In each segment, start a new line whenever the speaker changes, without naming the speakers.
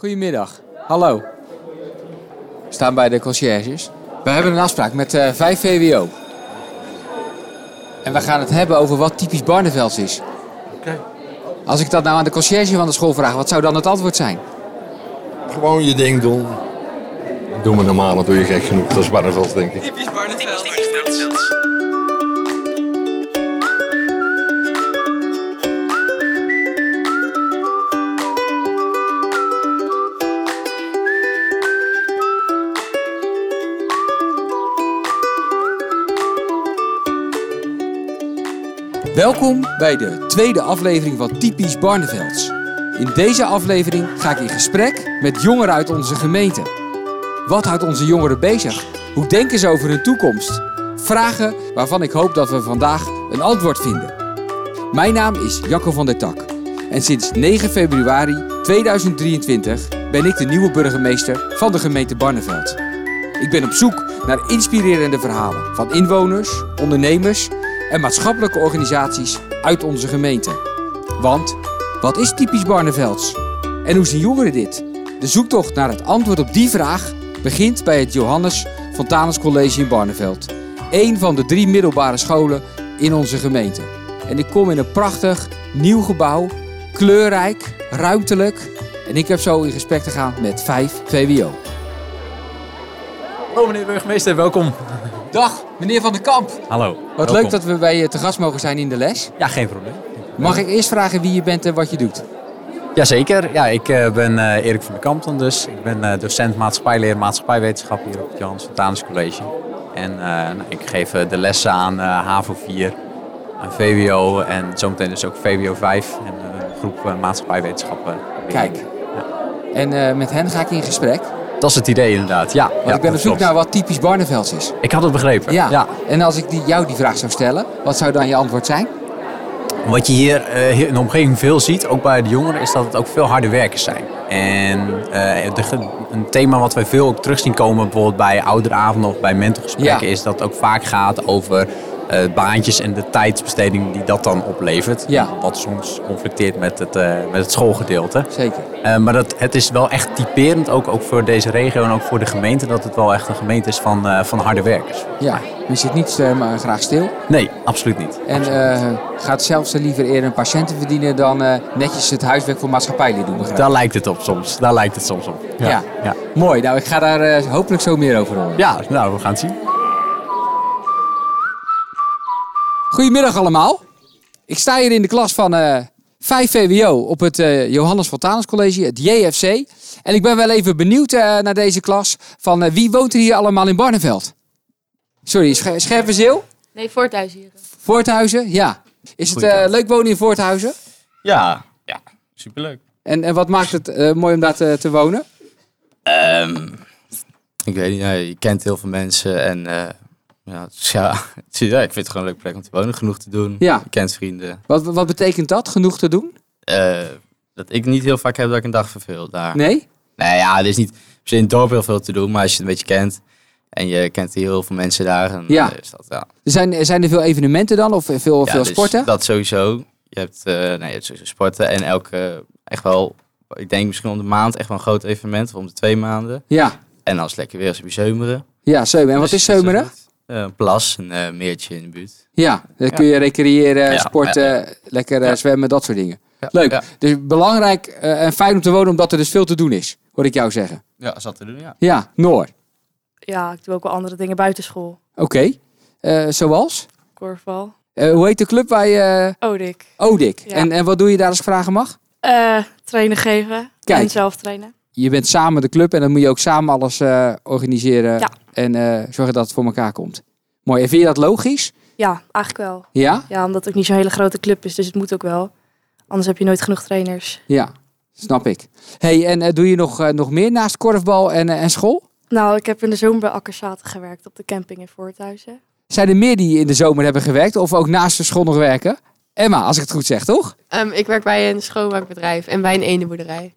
Goedemiddag. Hallo. We staan bij de conciërges. We hebben een afspraak met eh 5 VWO. En we gaan het hebben over wat typisch Barnevelds is.
Oké.
Als ik dat nou aan de conciërge van de school vraag, wat zou dan het antwoord zijn?
Gewoon je ding doen. Doe me normaal, dan doe je gek genoeg. Dat is Barneveld, denk ik.
Typisch Barneveld.
Welkom bij de tweede aflevering van Typisch Barnevelds. In deze aflevering ga ik in gesprek met jongeren uit onze gemeente. Wat houdt onze jongeren bezig? Hoe denken ze over hun toekomst? Vragen waarvan ik hoop dat we vandaag een antwoord vinden. Mijn naam is Jacco van der Tak en sinds 9 februari 2023 ben ik de nieuwe burgemeester van de gemeente Barneveld. Ik ben op zoek naar inspirerende verhalen van inwoners, ondernemers en maatschappelijke organisaties uit onze gemeente. Want wat is typisch Barnevelds? En hoe zien jongeren dit? De zoektocht naar het antwoord op die vraag begint bij het Johannes Fontanus College in Barneveld. Een van de drie middelbare scholen in onze gemeente. En ik kom in een prachtig nieuw gebouw, kleurrijk, ruimtelijk. En ik heb zo in gesprek te gaan met 5 VWO.
Hallo meneer burgemeester, welkom.
Dag, meneer Van den Kamp.
Hallo.
Wat leuk dat we bij je te gast mogen zijn in de les.
Ja, geen probleem.
Mag ik eerst vragen wie je bent en wat je doet?
Jazeker. Ja, ik eh, ben eh, Erik van der Kamp dan dus. Ik ben eh, docent maatschappijleer maatschappijwetenschap hier op het Johannes Fontanus College. En eh, nou, ik geef eh, de lessen aan eh HAVO 4, aan VWO en zometeen dus ook VWO 5 en eh, een groep eh, maatschappijwetenschappen.
Kijk. En eh, met hen ga ik in gesprek. Want
Dat is het idee inderdaad, ja. ja,
ik ben op
dat
zoek
klopt.
naar wat typisch Barnevelds is.
Ik had het begrepen.
Ja.
ja.
En als ik die, jou die vraag zou stellen, wat zou dan je antwoord zijn?
Wat je hier eh, hier in de omgeving veel ziet, ook bij de jongeren, is dat het ook veel harde werkers zijn. En eh, de ge- een thema wat wij veel ook terug zien komen, bijvoorbeeld bij ouderavonden of bij mentorgesprekken,
Ja.
is dat het ook vaak gaat over eh, baantjes en de tijdsbesteding die dat dan oplevert.
Ja.
Wat soms conflicteert met het, eh, met het schoolgedeelte.
Zeker.
Eh, maar dat, het is wel echt typerend, ook, ook voor deze regio en ook voor de gemeente, dat het wel echt een gemeente is van, eh, van harde werkers.
Ja, je zit niet eh, maar graag stil.
Nee, absoluut niet.
En eh, gaat zelfs liever eerder een patiënt te verdienen dan eh, netjes het huiswerk voor maatschappijlid doen. begrijp ik.
Daar lijkt het op soms. Daar lijkt het soms op.
Ja.
ja.
Mooi, nou ik ga daar eh, hopelijk zo meer over horen.
Ja, nou, we gaan het zien.
Goedemiddag allemaal. Ik sta hier in de klas van eh 5 VWO op het eh, Johannes Fontanus College, het JFC. En ik ben wel even benieuwd eh, naar deze klas van eh, wie woont er hier allemaal in Barneveld? Sorry, Scher- Scherpenzeel?
Nee, Voorthuis hier.
Voorthuizen? Ja. Is het eh, leuk wonen in Voorthuizen?
Ja. Ja, superleuk.
En, en wat maakt het eh, mooi om daar te, te wonen?
Ik weet niet, ja, je kent heel veel mensen en eh, ja, het is- ja, het is- ja, ik vind het gewoon een leuke plek om te wonen, genoeg te doen.
Ja.
Je kent vrienden.
Wat, wat betekent dat? Genoeg te doen?
Eh, dat ik niet heel vaak heb dat ik een dag verveel daar.
Nee?
Nee, ja, er is niet per se in het dorp heel veel te doen, maar als je het een beetje kent en je kent hier heel veel mensen daar, dan
Ja.
eh, is dat ja.
Zijn, zijn er veel evenementen dan? Of veel,
Ja,
veel
dus
sporten?
Dat sowieso. Je hebt, eh nee, je hebt sowieso sporten en elke, echt wel, ik denk misschien om de maand echt wel een groot evenement, of om de twee maanden.
Ja.
En als het lekker weer is, heb je zeumeren.
Ja, Zeumen. En wat
Dus
is
dat
Zeumeren?
goed. Eh, Een plas, een eh, meertje in de buurt.
Ja, dan kun je recreëren,
Ja,
sporten,
ja,
lekker eh,
Ja.
zwemmen, dat soort dingen.
Ja,
Leuk.
Ja,
Dus belangrijk eh, en fijn om te wonen, omdat er dus veel te doen is, hoor ik jou zeggen.
ja is dat te doen, ja.
Ja, Noor.
Ja, ik doe ook wel andere dingen buiten school.
Oké. Eh, zoals?
Korfbal. Oh,
Eh, hoe heet de club bij eh
Odik.
Odik?
Ja.
En, en wat doe je daar als ik vragen mag?
Eh trainen geven.
Kijk.
En zelf trainen.
Je bent samen de club en dan moet je ook samen alles eh, organiseren
Ja.
en eh, zorgen dat het voor elkaar komt. Mooi. En vind je dat logisch?
Ja, eigenlijk wel.
Ja?
Ja, omdat het ook niet zo'n hele grote club is, dus het moet ook wel. Anders heb je nooit genoeg trainers.
Ja, snap ik. hey, en eh, doe je nog, eh, nog meer naast korfbal en, eh, en school?
Nou, ik heb in de zomer bij Akkerzaten gewerkt op de camping in Voorthuizen.
Zijn er meer die in de zomer hebben gewerkt of ook naast de school nog werken? Emma, als ik het goed zeg, toch?
Ehm, ik werk bij een schoonmaakbedrijf en bij een eendenboerderij.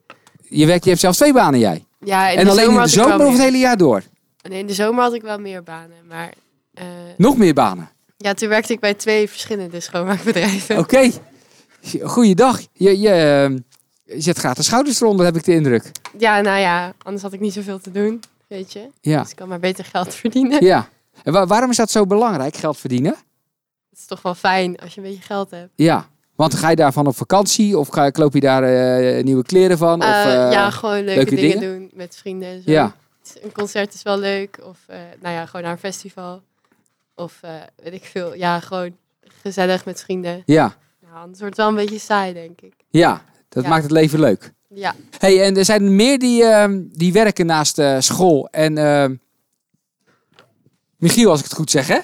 Je, werkt, je hebt zelfs twee banen, jij.
Ja,
en alleen in de
had ik wel
zomer of het
meer-
hele jaar door?
Nee, in de zomer had ik wel meer banen. Maar eh,
Nog meer banen.
ja, toen werkte ik bij twee verschillende schoonmaakbedrijven.
Oké. ehm, Goeiedag. Je, je, eh, je zet graag de schouders eronder, heb ik de indruk.
ja, nou ja, anders had ik niet zoveel te doen, weet je.
Ja.
Dus ik kan maar beter geld verdienen.
ja. En wa- waarom is dat zo belangrijk, geld verdienen?
Het is toch wel fijn als je een beetje geld hebt.
Ja. Want ga je daarvan op vakantie? Of ga, koop je daar eh, nieuwe kleren van? of,
Eh,
eh,
ja, gewoon leuke,
leuke
dingen, doen met vrienden en zo. Dus
ja.
Een concert is wel leuk. Of eh, nou ja, gewoon naar een festival. Of eh, weet ik veel. Ja, gewoon gezellig met vrienden.
Ja.
Nou, anders wordt het wel een beetje saai, denk ik.
Ja. Dat
Ja.
maakt het leven leuk.
Ja,
Hey, en er zijn er meer die, ehm, die werken naast eh, school. En ehm, Michiel, als ik het goed zeg, hè?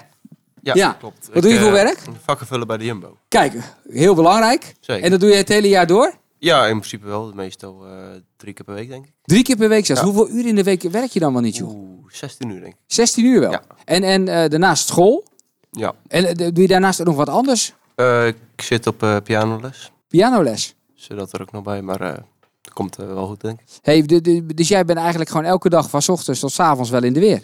Ja,
Ja.
klopt.
Wat doe je
Ik,
voor
eh,
werk?
Vakken vullen bij de Jumbo.
Kijk, heel belangrijk.
Zeker.
En dat doe je het hele jaar door?
Ja, in principe wel. Meestal eh, drie keer per week, denk ik.
Drie keer per week zelfs.
Ja.
Hoeveel uur in de week werk je dan wel niet, joh?
Oeh, 16 uur, denk ik.
16 uur wel.
Ja.
En, en eh, daarnaast school.
Ja.
En eh, doe je daarnaast ook nog wat anders?
Eh, ik zit op eh, pianoles,
Pianoles.
zodat er ook nog bij, maar eh, dat komt eh, wel goed, denk ik.
Hey, de- de- dus jij bent eigenlijk gewoon elke dag van 's ochtends tot 's avonds wel in de weer.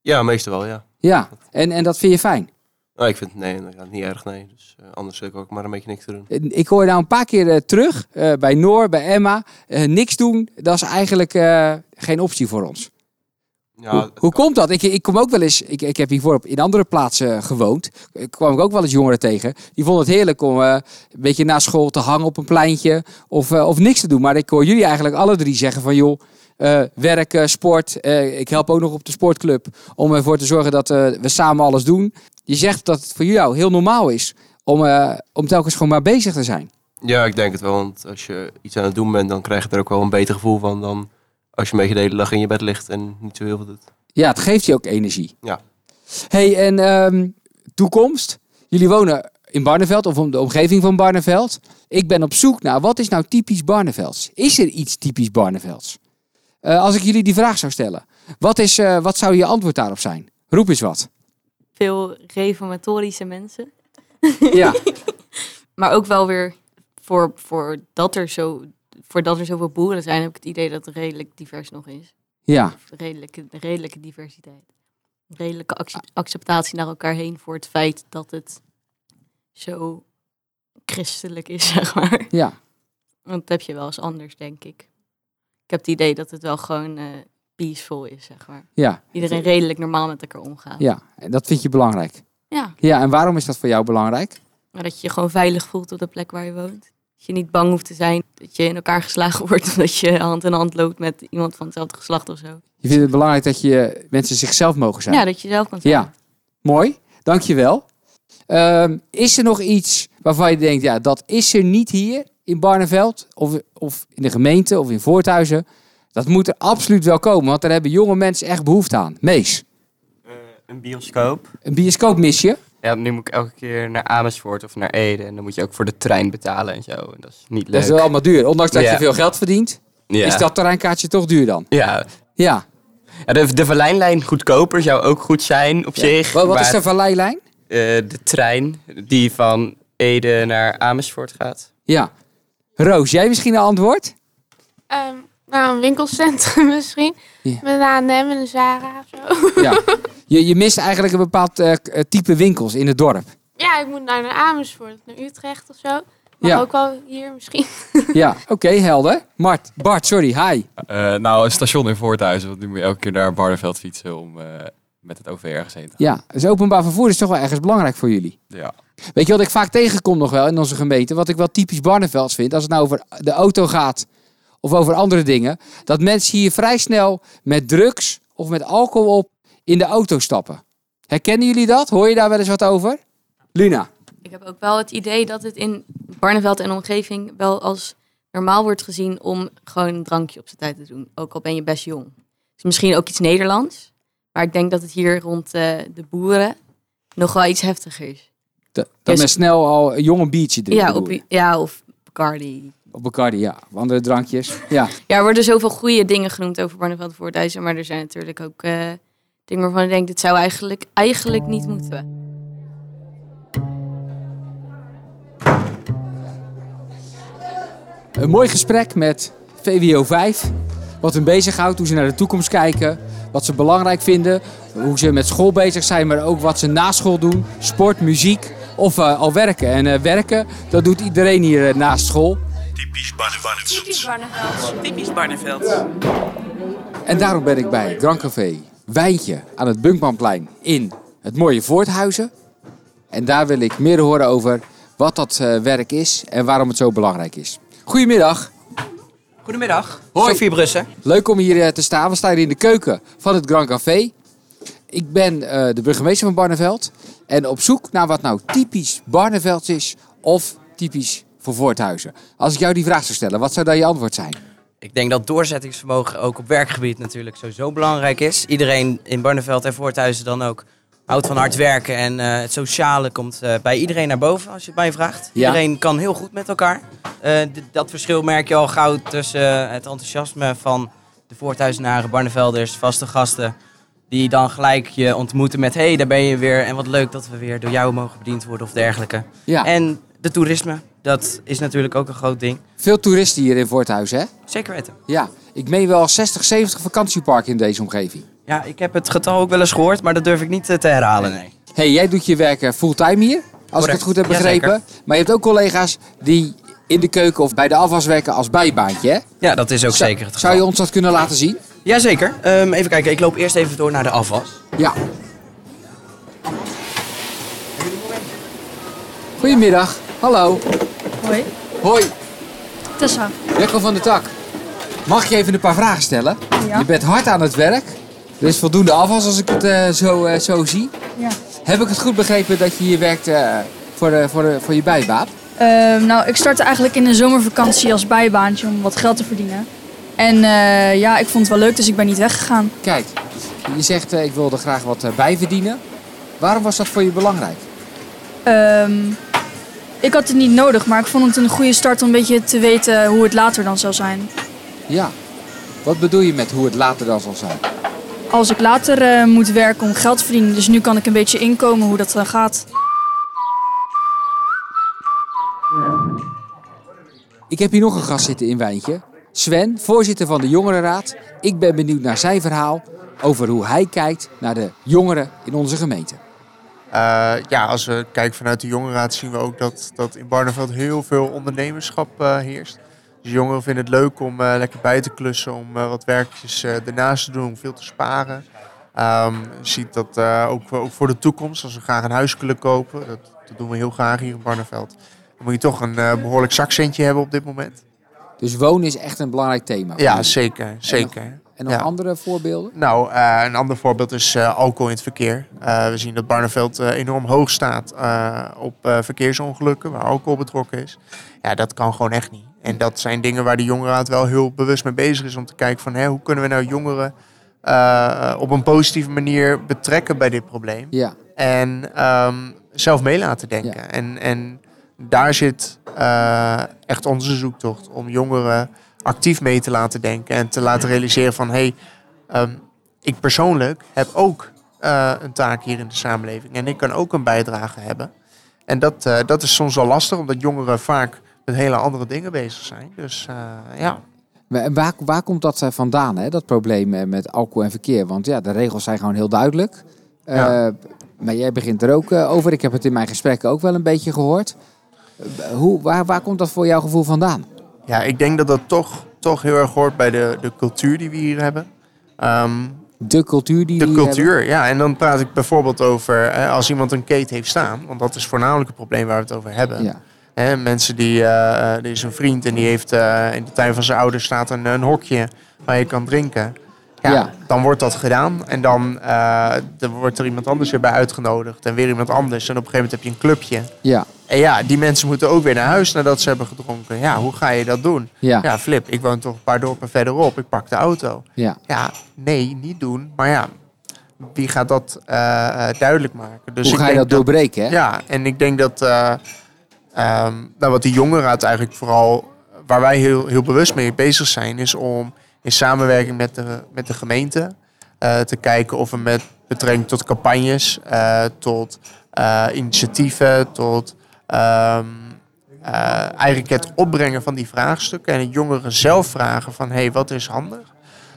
Ja, meestal wel, ja.
Ja, en, en dat vind je fijn.
Nou, ik vind het nee, inderdaad niet erg, nee. Dus eh, anders heb ik ook maar een beetje niks te doen.
En Ik hoor je nou een paar keer eh, terug eh, bij Noor, bij Emma. eh, niks doen, dat is eigenlijk eh, geen optie voor ons.
Ja,
hoe hoe komt dat? Ik, ik kom ook wel eens, ik, ik heb hiervoor op, in andere plaatsen eh, gewoond. Ik kwam ik ook wel eens jongeren tegen. Die vonden het heerlijk om eh, een beetje na school te hangen op een pleintje of, eh, of niks te doen. Maar ik hoor jullie eigenlijk alle drie zeggen van joh, eh, werk, eh, sport. eh, ik help ook nog op de sportclub om ervoor te zorgen dat eh, we samen alles doen. Je zegt dat het voor jou heel normaal is om, eh, om telkens gewoon maar bezig te zijn.
ja, ik denk het wel, want als je iets aan het doen bent, dan krijg je er ook wel een beter gevoel van dan als je een beetje de hele dag in je bed ligt en niet zo heel veel doet.
Ja, het geeft je ook energie.
Ja.
hey, en ehm, toekomst. Jullie wonen in Barneveld of om de omgeving van Barneveld. Ik ben op zoek naar wat is nou typisch Barnevelds? Is er iets typisch Barnevelds? Eh, als ik jullie die vraag zou stellen, wat, is, eh, wat zou je antwoord daarop zijn? Roep eens wat.
Veel reformatorische mensen.
Ja,
Maar ook wel weer voor, voordat, er zo, voordat er zoveel boeren zijn, heb ik het idee dat het redelijk divers nog is.
ja,
Redelijke, redelijke diversiteit. Redelijke acce- acceptatie naar elkaar heen voor het feit dat het zo christelijk is, zeg maar.
ja.
Want dat heb je wel eens anders, denk ik. Ik heb het idee dat het wel gewoon eh, peaceful is, zeg maar.
Ja,
Iedereen redelijk normaal met elkaar omgaat.
ja, En dat vind je belangrijk.
Ja,
Ja, en waarom is dat voor jou belangrijk?
maar dat je je gewoon veilig voelt op de plek waar je woont. Dat je niet bang hoeft te zijn dat je in elkaar geslagen wordt omdat je hand in hand loopt met iemand van hetzelfde geslacht of zo.
Je vindt het belangrijk dat je mensen zichzelf mogen zijn.
Ja, dat je zelf kan zijn.
Ja, mooi. Dankjewel. Ehm is er nog iets waarvan je denkt, ja, dat is er niet hier in Barneveld of, of in de gemeente of in Voorthuizen? Dat moet er absoluut wel komen, want daar hebben jonge mensen echt behoefte aan. Mees,
Eh, Een bioscoop.
een bioscoop mis je?
Ja, nu moet ik elke keer naar Amersfoort of naar Ede. En dan moet je ook voor de trein betalen en zo. En dat is niet leuk.
Dat is wel allemaal duur. Ondanks dat je
Ja.
veel geld verdient,
ja.
is dat terreinkaartje toch duur dan?
Ja.
Ja.
Ja, de, de Verlijnlijn goedkoper zou ook goed zijn op zich.
Wat, wat
maar,
is de valleilijn?
eh, de trein die van Ede naar Amersfoort gaat.
Ja. Roos, jij misschien een antwoord?
Ehm, nou, een winkelcentrum misschien.
Ja.
Met een H&M en een Zara of zo.
Ja. Je, je mist eigenlijk een bepaald eh, k- eh, type winkels in het dorp.
Ja, ik moet naar Amersfoort, naar Utrecht of zo. Maar
Ja.
ook wel hier misschien.
Ja, oké, helder. Mart, Bart, sorry, hi.
Eh, nou, een station in Voorthuizen, want nu moet je elke keer naar Barneveld fietsen om eh, met het OV ergens heen te gaan.
Ja, dus openbaar vervoer is toch wel ergens belangrijk voor jullie.
Ja.
Weet je wat ik vaak tegenkom nog wel in onze gemeente? Wat ik wel typisch Barnevelds vind, als het nou over de auto gaat of over andere dingen. Dat mensen hier vrij snel met drugs of met alcohol op in de auto stappen. Herkennen jullie dat? Hoor je daar wel eens wat over? Luna.
Ik heb ook wel het idee dat het in Barneveld en omgeving wel als normaal wordt gezien om gewoon een drankje op zijn tijd te doen. Ook al ben je best jong. Dus misschien ook iets Nederlands. Maar ik denk dat het hier rond eh, de boeren nog wel iets heftiger is.
Dat dat
Yes.
men snel al jong een biertje drinkt.
Ja,
bedoel
op,
je?
ja, of Bacardi.
op Bacardi, ja. Of andere drankjes. Ja,
Ja, er worden zoveel goede dingen genoemd over Barneveld Voorthuizen. Maar er zijn natuurlijk ook eh, dingen waarvan ik denk, dit zou eigenlijk, eigenlijk niet moeten.
Een mooi gesprek met VWO 5. Wat hun bezighoudt, hoe ze naar de toekomst kijken. Wat ze belangrijk vinden. Hoe ze met school bezig zijn, maar ook wat ze na school doen. Sport, muziek of eh, al werken. En eh, werken, dat doet iedereen hier eh, naast school.
Typisch Barneveld.
Typisch Barneveld.
Typisch Barneveld.
En daarom ben ik bij Grand Café Wijntje aan het Bunkmanplein in het mooie Voorthuizen. En daar wil ik meer horen over wat dat eh, werk is en waarom het zo belangrijk is. Goedemiddag.
Goedemiddag.
Hoi.
Sophie Brussen.
Leuk om hier eh, te staan. We staan hier in de keuken van het Grand Café. Ik ben eh, de burgemeester van Barneveld en op zoek naar wat nou typisch Barneveld is of typisch voor Voorthuizen. Als ik jou die vraag zou stellen, wat zou dan je antwoord zijn?
Ik denk dat doorzettingsvermogen ook op werkgebied natuurlijk sowieso belangrijk is. Iedereen in Barneveld en Voorthuizen dan ook houdt van hard werken. En eh, het sociale komt eh, bij iedereen naar boven, als je het mij vraagt.
Ja.
Iedereen kan heel goed met elkaar. Eh, d- dat verschil merk je al gauw tussen eh, het enthousiasme van de Voorthuizenaren, Barnevelders, vaste gasten. Die dan gelijk je ontmoeten met, hé, hey, daar ben je weer. En wat leuk dat we weer door jou mogen bediend worden of dergelijke.
Ja.
En de toerisme, dat is natuurlijk ook een groot ding.
Veel toeristen hier in Voorthuizen, hè?
Zeker weten.
Ja, ik meen wel 60, 70 vakantieparken in deze omgeving.
Ja, ik heb het getal ook wel eens gehoord, maar dat durf ik niet eh, te herhalen, nee.
hey, jij doet je werk eh, fulltime hier, als ik
Correct.
het goed heb
Jazeker.
begrepen. Maar je hebt ook collega's die in de keuken of bij de afwas werken als bijbaantje, hè?
Ja, dat is ook zeker het geval.
Zou je ons dat kunnen laten zien?
Jazeker. Ehm, even kijken, ik loop eerst even door naar de afwas.
Ja. Goedemiddag, hallo.
Hoi,
Hoi,
Tessa.
Jacco van der Tak. Mag ik je even een paar vragen stellen?
Ja.
Je bent hard aan het werk. Er is voldoende afwas als ik het eh, zo, eh, zo zie.
Ja.
Heb ik het goed begrepen dat je hier werkt eh, voor, de, voor, de, voor je bijbaat?
Ehm, nou, ik startte eigenlijk in de zomervakantie als bijbaantje om wat geld te verdienen. En eh, ja, ik vond het wel leuk, dus ik ben niet weggegaan.
Kijk, je zegt eh, ik wil er graag wat eh, bij verdienen. Waarom was dat voor je belangrijk?
Ehm, ik had het niet nodig, maar ik vond het een goede start om een beetje te weten hoe het later dan zou zijn.
Ja. Wat bedoel je met hoe het later dan zal zijn?
Als ik later eh, moet werken om geld te verdienen, dus nu kan ik een beetje inkomen hoe dat dan gaat.
Ik heb hier nog een gast zitten in Wijntje. Sven, voorzitter van de Jongerenraad. Ik ben benieuwd naar zijn verhaal over hoe hij kijkt naar de jongeren in onze gemeente.
Eh, ja, als we kijken vanuit de jongerenraad zien we ook dat, dat in Barneveld heel veel ondernemerschap eh, heerst. Dus jongeren vinden het leuk om eh, lekker bij te klussen, om eh, wat werkjes eh ernaast te doen, om veel te sparen. Ehm, je ziet dat eh, ook, ook voor de toekomst, als we graag een huis willen kopen, dat, dat doen we heel graag hier in Barneveld. Dan moet je toch een eh, behoorlijk zakcentje hebben op dit moment.
Dus wonen is echt een belangrijk thema.
Ja, zeker. zeker.
En nog, en nog
Ja.
andere voorbeelden?
Nou, eh, een ander voorbeeld is eh, alcohol in het verkeer. Eh, we zien dat Barneveld eh, enorm hoog staat eh, op eh, verkeersongelukken waar alcohol betrokken is. Ja, dat kan gewoon echt niet. En dat zijn dingen waar de jongerenraad wel heel bewust mee bezig is om te kijken van hè, hoe kunnen we nou jongeren eh, op een positieve manier betrekken bij dit probleem.
Ja.
En ehm, zelf mee laten denken. En, en daar zit eh, echt onze zoektocht om jongeren actief mee te laten denken en te laten realiseren van hé, hey, ehm, ik persoonlijk heb ook eh, een taak hier in de samenleving en ik kan ook een bijdrage hebben. En dat, eh, dat is soms wel lastig, omdat jongeren vaak met hele andere dingen bezig zijn. Dus eh, ja.
Maar en Waar, waar komt dat eh, vandaan, hè? dat probleem eh, met alcohol en verkeer? Want ja, de regels zijn gewoon heel duidelijk. Eh,
Ja.
Maar jij begint er ook eh, over. Ik heb het in mijn gesprekken ook wel een beetje gehoord. Eh, hoe, waar, waar komt dat voor jouw gevoel vandaan?
Ja, ik denk dat dat toch, toch heel erg hoort bij de, de cultuur die we hier hebben.
de cultuur die
De
we hier
cultuur, ja. En dan praat ik bijvoorbeeld over eh, als iemand een keet heeft staan. Want dat is voornamelijk het probleem waar we het over hebben.
Ja.
Hè, mensen die, eh, er is een vriend en die heeft eh, in de tuin van zijn ouders staat een, een hokje waar je kan drinken. Ja,
Ja.
dan wordt dat gedaan en dan eh, er wordt er iemand anders weer bij uitgenodigd en weer iemand anders. En op een gegeven moment heb je een clubje.
Ja,
En ja, die mensen moeten ook weer naar huis nadat ze hebben gedronken. Ja, hoe ga je dat doen?
Ja.
Flip, ik woon toch een paar dorpen verderop. Ik pak de auto.
ja.
Ja, nee, niet doen. Maar ja, wie gaat dat eh, eh, duidelijk maken?
Hoe ga je dat doorbreken, hè?
Ja, en ik denk dat eh, ehm, nou, wat de jongerenraad eigenlijk vooral... waar wij heel, heel bewust mee bezig zijn... is om in samenwerking met de, met de gemeente... eh, te kijken of we met betrekking tot campagnes... eh, tot eh, initiatieven, tot... ehm, eh, eigenlijk het opbrengen van die vraagstukken en het jongeren zelf vragen van hé, hey, wat is handig?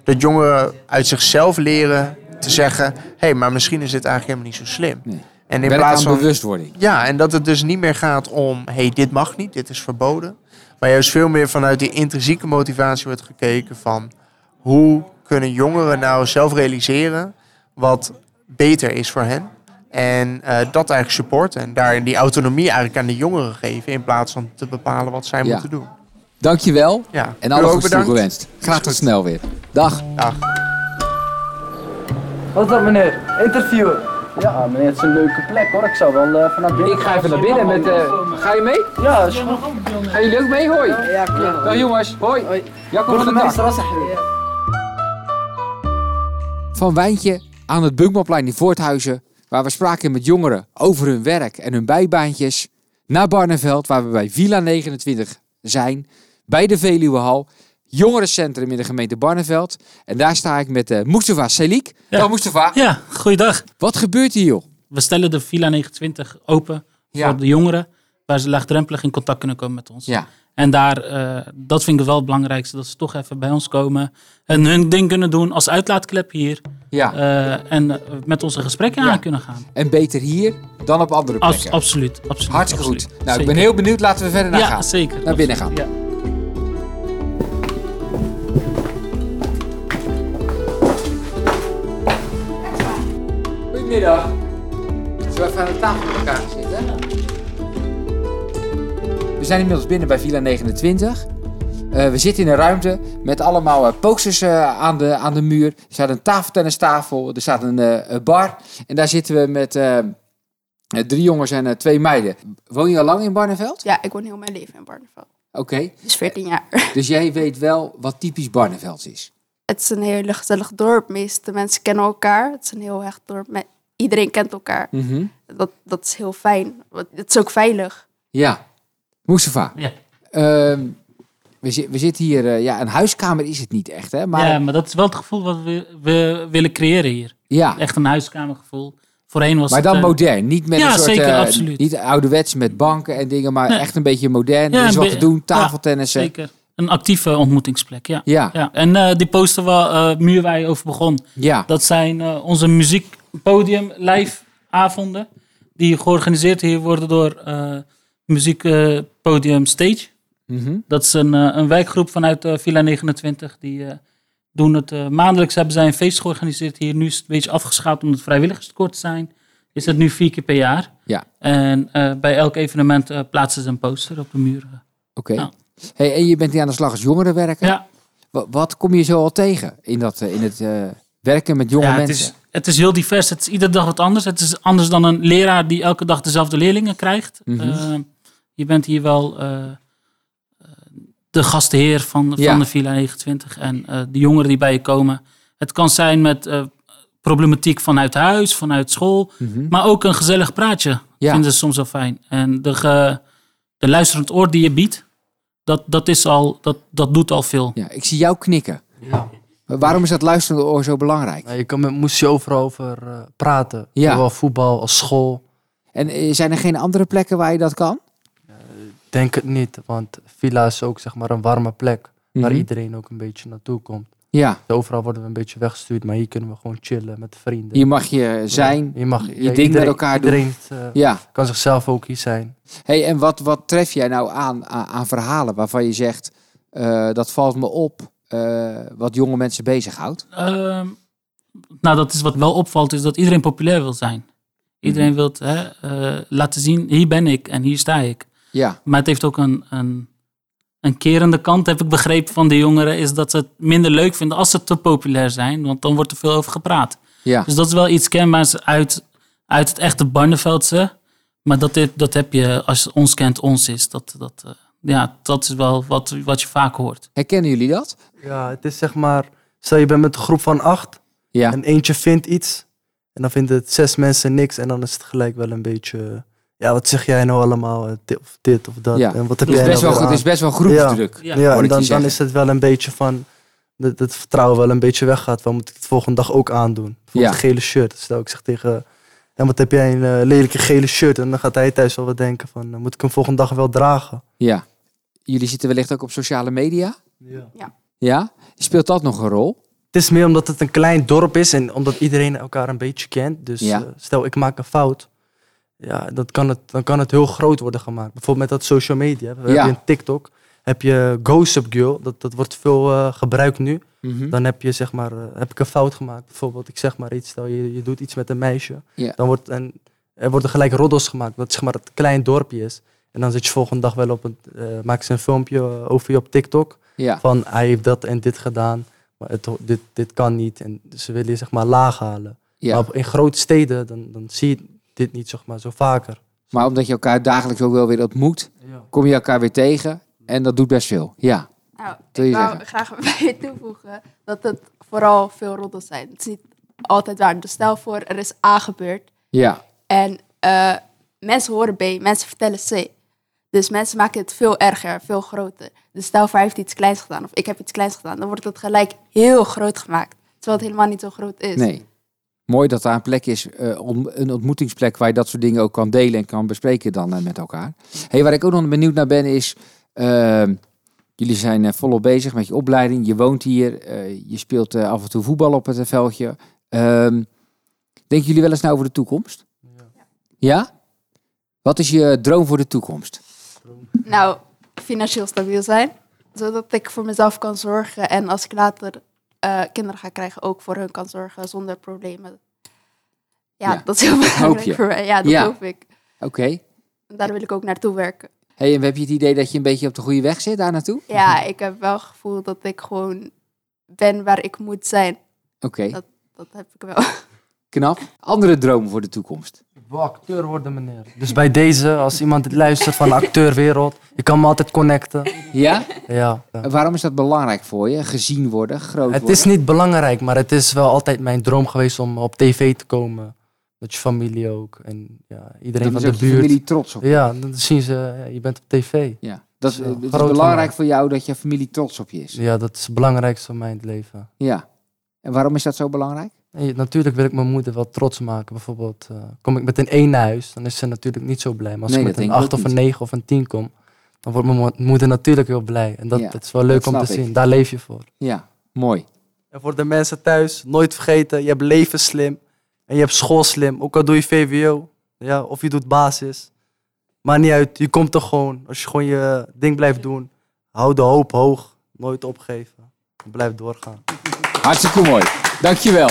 Dat jongeren uit zichzelf leren te zeggen: hé, hey, maar misschien is dit eigenlijk helemaal niet zo slim. En
Werk aan bewustwording.
Ja, en dat het dus niet meer gaat om: hé, hey, dit mag niet, dit is verboden.
Maar juist veel meer vanuit die intrinsieke motivatie wordt gekeken van hoe kunnen jongeren nou zelf realiseren wat beter is voor hen. En eh, dat eigenlijk supporten en daar die autonomie eigenlijk aan de jongeren geven in plaats van te bepalen wat zij
Ja.
moeten doen.
Dankjewel.
Ja.
En
U
alle
ook
goeds
bedankt.
toegewenst. Graag tot snel weer. Dag.
Dag.
Wat is dat meneer? Interviewen. Ja meneer, het is een leuke plek hoor. Ik zou wel eh, vanaf binnen...
Ik ga even naar binnen met, eh, ga je mee?
Ja, is goed.
Gaan jullie ook mee? Hoi. Ja,
klopt.
Dag jongens. Hoi. Jacob van der
Burgemeester
Dak.
Assaghri.
Van Wijntje aan het Bunkmanplein in Voorthuizen, waar we spraken met jongeren over hun werk en hun bijbaantjes, naar Barneveld, waar we bij Villa 29 zijn, bij de Veluwehal, jongerencentrum in de gemeente Barneveld. En daar sta ik met eh Mustafa Selik.
Ja.
Dag Mustafa.
Ja, goeiedag.
Wat gebeurt hier joh?
We stellen de Villa 29 open
Ja.
voor de jongeren, waar ze laagdrempelig in contact kunnen komen met ons.
Ja.
En daar, eh, dat vind ik wel het belangrijkste, dat ze toch even bij ons komen en hun ding kunnen doen als uitlaatklep hier.
Ja.
Eh, en eh, met onze gesprekken aan kunnen gaan.
En beter hier dan op andere
Abs-
plekken.
absoluut, absoluut.
Hartstikke
absoluut.
goed. Nou, ik
Zeker.
ben heel benieuwd. Laten we verder naar
Ja,
gaan.
zeker.
Naar binnen gaan. Goedemiddag. Zullen we even aan de tafel met elkaar gaan zitten? We zijn inmiddels binnen bij Villa 29. Eh, we zitten in een ruimte met allemaal eh, posters eh, aan, de, aan de muur. Er staat een tafeltennistafel, er staat een eh, eh, bar. En daar zitten we met eh, eh, drie jongens en eh, twee meiden. Woon je al lang in Barneveld?
Ja, ik woon heel mijn leven in Barneveld.
Oké,
Dus 14 jaar.
dus jij weet wel wat typisch Barneveld is.
Het is een heel gezellig dorp. De meeste mensen kennen elkaar. Het is een heel hecht dorp. Me- Iedereen kent elkaar.
Mhm.
Dat, dat is heel fijn. Want Het is ook veilig.
Ja, Mustafa.
Ja.
Ehm, we, zi- we zitten hier, eh, ja, een huiskamer is het niet echt, hè? Maar,
Ja, maar dat is wel het gevoel wat we, we willen creëren hier.
Ja.
Echt een huiskamergevoel. Voorheen was
maar
het,
dan
eh,
modern, niet met
ja,
een soort...
zeker,
eh,
absoluut.
Niet ouderwets met banken en dingen, maar
Nee.
echt een beetje modern.
Ja,
er is
een
wat
be-
te doen,
ja,
tafeltennissen.
zeker. Een actieve ontmoetingsplek, ja.
Ja.
En eh, die poster waar eh Muur waar je over begon,
Ja.
dat zijn eh, onze muziekpodium live avonden. Die georganiseerd hier worden door eh, muziekpodium Stage.
Mhm.
Dat is een, eh, een wijkgroep vanuit eh, Villa 29. Die eh, doen het eh, maandelijks. Hebben zij een feest georganiseerd hier. Nu is het een beetje afgeschaald omdat vrijwilligers tekort zijn. Is het nu vier keer per jaar.
Ja.
En eh, bij elk evenement eh, plaatsen ze een poster op de muur.
Oké. Hey, en je bent hier aan de slag als jongerenwerker.
Ja.
Wat, kom je zo al tegen in, dat, eh, in het eh, werken met jonge
Ja, het,
mensen?
is, het is heel divers. Het is iedere dag wat anders. Het is anders dan een leraar die elke dag dezelfde leerlingen krijgt.
Mhm.
Eh, je bent hier wel eh, eh, de gastheer van,
Ja.
van de Villa 29 en eh, de jongeren die bij je komen. Het kan zijn met eh, problematiek vanuit huis, vanuit school,
Mhm.
maar ook een gezellig praatje.
Ja.
Vinden ze soms wel fijn. En de, ge- de luisterend oor die je biedt, dat, dat, is al, dat, dat doet al veel.
Ja, ik zie jou knikken. Maar Waarom is dat luisterende oor zo belangrijk?
je kan met Moesje overal over eh, praten.
Ja.
Zowel voetbal als school.
En eh, zijn er geen andere plekken waar je dat kan?
Denk het niet, want villa is ook zeg maar een warme plek. Waar
Mhm.
iedereen ook een beetje naartoe komt.
Ja.
Dus overal worden we een beetje weggestuurd, maar hier kunnen we gewoon chillen met vrienden.
Hier mag je zijn,
je, mag,
je
ja,
ding
iedereen-
met elkaar
iedereen,
doen.
eh,
ja.
kan zichzelf ook hier zijn.
Hey, en wat, wat tref jij nou aan, aan, aan verhalen waarvan je zegt, eh, dat valt me op, eh, wat jonge mensen bezighoudt?
Ehm, nou, dat is wat wel opvalt, is dat iedereen populair wil zijn. Iedereen
Mhm.
wil hè, eh, laten zien, hier ben ik en hier sta ik.
Ja.
Maar het heeft ook een, een, een kerende kant, heb ik begrepen van de jongeren, is dat ze het minder leuk vinden als ze te populair zijn, want dan wordt er veel over gepraat.
Ja.
Dus dat is wel iets kenbaars uit, uit het echte Barneveldse. Maar dat, dit- dat heb je, als je ons kent, ons is. Dat, dat, eh, ja, dat is wel wat, wat je vaak hoort.
Herkennen jullie dat?
Ja, het is zeg maar, stel je bent met een groep van acht.
Ja.
En eentje vindt iets. En dan vinden het zes mensen niks. En dan is het gelijk wel een beetje, eh, ja wat zeg jij nou allemaal? eh, Dit of dit of dat.
Ja.
En wat
Het is
jij
best
nou
wel-
weer
het is
aan?
best wel groepsdruk,
Ja,
hoor ik je
ja, en dan, dan
zeggen.
is het wel een beetje van, dat, dat vertrouwen wel een beetje weggaat. Wat moet ik het volgende dag ook aandoen? Bijvoorbeeld
Ja.
een gele shirt. Stel ik zeg tegen... En wat heb jij een eh, lelijke gele shirt? En dan gaat hij thuis wel wat denken van, eh, moet ik hem volgende dag wel dragen?
Ja. Jullie zitten wellicht ook op sociale media?
Ja.
Ja.
Ja? Speelt dat nog een rol?
Het is meer omdat het een klein dorp is en omdat iedereen elkaar een beetje kent. Dus
Ja.
eh, stel ik maak een fout, ja, dat kan het, dan kan het heel groot worden gemaakt. Bijvoorbeeld met dat social media. We
Ja.
hebben een TikTok. heb je Gossip Girl. Dat, dat wordt veel eh, gebruikt nu.
Mhm.
Dan heb je zeg maar, eh, heb ik een fout gemaakt. Bijvoorbeeld, ik zeg maar iets. Stel, je, je doet iets met een meisje.
Ja.
Dan wordt en er worden gelijk roddels gemaakt. Dat zeg maar het klein dorpje is. En dan zit je volgende dag wel op een, eh maken ze een filmpje eh, over je op TikTok.
Ja.
Van hij heeft dat en dit gedaan. Maar het, ho- dit, dit kan niet. En ze willen je zeg maar laag halen.
Ja.
Maar op- in grote steden dan, dan zie je dit niet zeg maar, zo vaker.
Maar omdat je elkaar dagelijks ook wel weer ontmoet, kom je elkaar weer tegen. En dat doet best veel. Ja.
Nou,
Wil
ik
je
wou
zeggen?
graag bij toevoegen dat het vooral veel roddels zijn. Het is niet altijd waar. Dus stel voor, er is A gebeurd
Ja.
en eh, mensen horen B, mensen vertellen C. Dus mensen maken het veel erger, veel groter. Dus stel voor, hij heeft iets kleins gedaan of ik heb iets kleins gedaan. Dan wordt het gelijk heel groot gemaakt. Terwijl het helemaal niet zo groot is.
Nee. Mooi dat daar een plek is, eh, om- een ontmoetingsplek waar je dat soort dingen ook kan delen en kan bespreken dan eh, met elkaar. Hey, waar ik ook nog benieuwd naar ben is, ehm, jullie zijn eh, volop bezig met je opleiding, je woont hier, eh, je speelt eh, af en toe voetbal op het eh, veldje. Ehm, denken jullie wel eens nou over de toekomst? Ja. Wat is je droom voor de toekomst?
Nou, financieel stabiel zijn. Zodat ik voor mezelf kan zorgen. En als ik later eh, kinderen ga krijgen, ook voor hun kan zorgen zonder problemen. Ja,
Ja.
dat is heel
Hoop
belangrijk
je.
voor mij. Ja, dat
Ja.
hoop ik.
Oké.
En Daar wil ik ook naartoe werken.
Hey, en heb je het idee dat je een beetje op de goede weg zit daar naartoe?
Ja, ik heb wel het gevoel dat ik gewoon ben waar ik moet zijn.
Oké,
Dat, dat heb ik wel.
knap. Andere dromen voor de toekomst?
wil acteur worden, meneer. Dus bij deze, als iemand dit luistert van de acteurwereld, je kan me altijd connecten.
Ja?
Ja.
En Waarom is dat belangrijk voor je? Gezien worden, groot worden?
Het is niet belangrijk, maar het is wel altijd mijn droom geweest om op tv te komen. Met je familie ook. En ja, iedereen
Dan
van
is ook
de
je
buurt.
familie trots op je.
Ja, dan zien ze, ja, je bent op tv.
Ja, dat is,
Ja,
het is
groot
belangrijk voor jou dat je familie trots op je is.
Ja, dat is het belangrijkste voor mij in het leven.
Ja. En waarom is dat zo belangrijk?
En je- natuurlijk wil ik mijn moeder wel trots maken. Bijvoorbeeld, eh, kom ik met een 1 naar huis, dan is ze natuurlijk niet zo blij. Maar als
Nee,
ik
dat
met een
denk ik ook
8 of een
niet.
9 of een 10 kom, dan wordt mijn mo- moeder natuurlijk heel blij. En dat,
Ja,
dat is wel leuk
dat
om te
snap ik.
zien. Daar leef je voor.
Ja, mooi.
En
voor
de mensen thuis, nooit vergeten, je hebt leven slim en je hebt school slim. Ook al doe je VWO ja, of je doet basis. Maar niet uit, je komt er gewoon. Als je gewoon je ding blijft doen, hou de hoop hoog. Nooit opgeven. En Blijf doorgaan.
Hartstikke mooi. Dankjewel.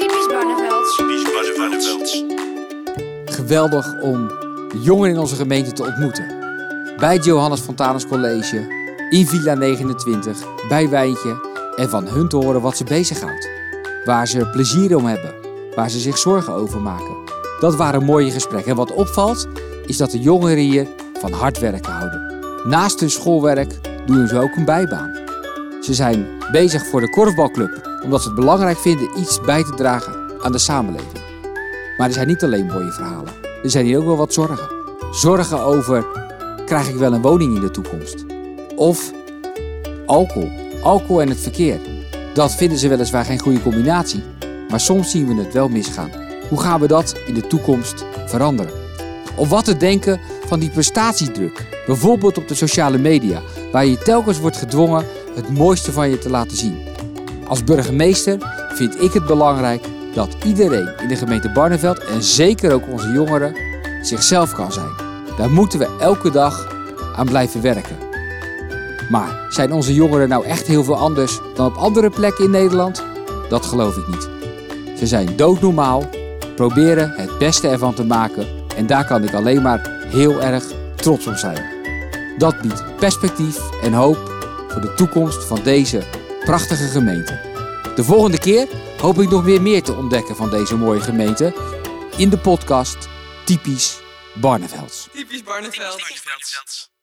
Typisch Barnevelds. Typisch
Geweldig om jongeren in onze gemeente te ontmoeten. Bij het Johannes Fontanus College, in Villa 29, bij Wijntje. En van hun te horen wat ze bezighoudt. Waar ze plezier om hebben. Waar ze zich zorgen over maken. Dat waren mooie gesprekken. En wat opvalt, is dat de jongeren hier van hard werken houden. Naast hun schoolwerk doen ze ook een bijbaan. Ze zijn bezig voor de korfbalclub, omdat ze het belangrijk vinden iets bij te dragen aan de samenleving. Maar er zijn niet alleen mooie verhalen. Er zijn hier ook wel wat zorgen. Zorgen over, krijg ik wel een woning in de toekomst? Of alcohol. Alcohol en het verkeer. Dat vinden ze weliswaar geen goede combinatie. Maar soms zien we het wel misgaan. Hoe gaan we dat in de toekomst veranderen? Of wat te denken van die prestatiedruk. Bijvoorbeeld op de sociale media. Waar je telkens wordt gedwongen het mooiste van je te laten zien. Als burgemeester vind ik het belangrijk dat iedereen in de gemeente Barneveld en zeker ook onze jongeren zichzelf kan zijn. Daar moeten we elke dag aan blijven werken. Maar zijn onze jongeren nou echt heel veel anders dan op andere plekken in Nederland? Dat geloof ik niet. Ze zijn doodnormaal, proberen het beste ervan te maken en daar kan ik alleen maar heel erg trots op zijn. Dat biedt perspectief en hoop voor de toekomst van deze prachtige gemeente. De volgende keer hoop ik nog weer meer te ontdekken van deze mooie gemeente in de podcast Typisch Barnevelds.
Typisch Barnevelds.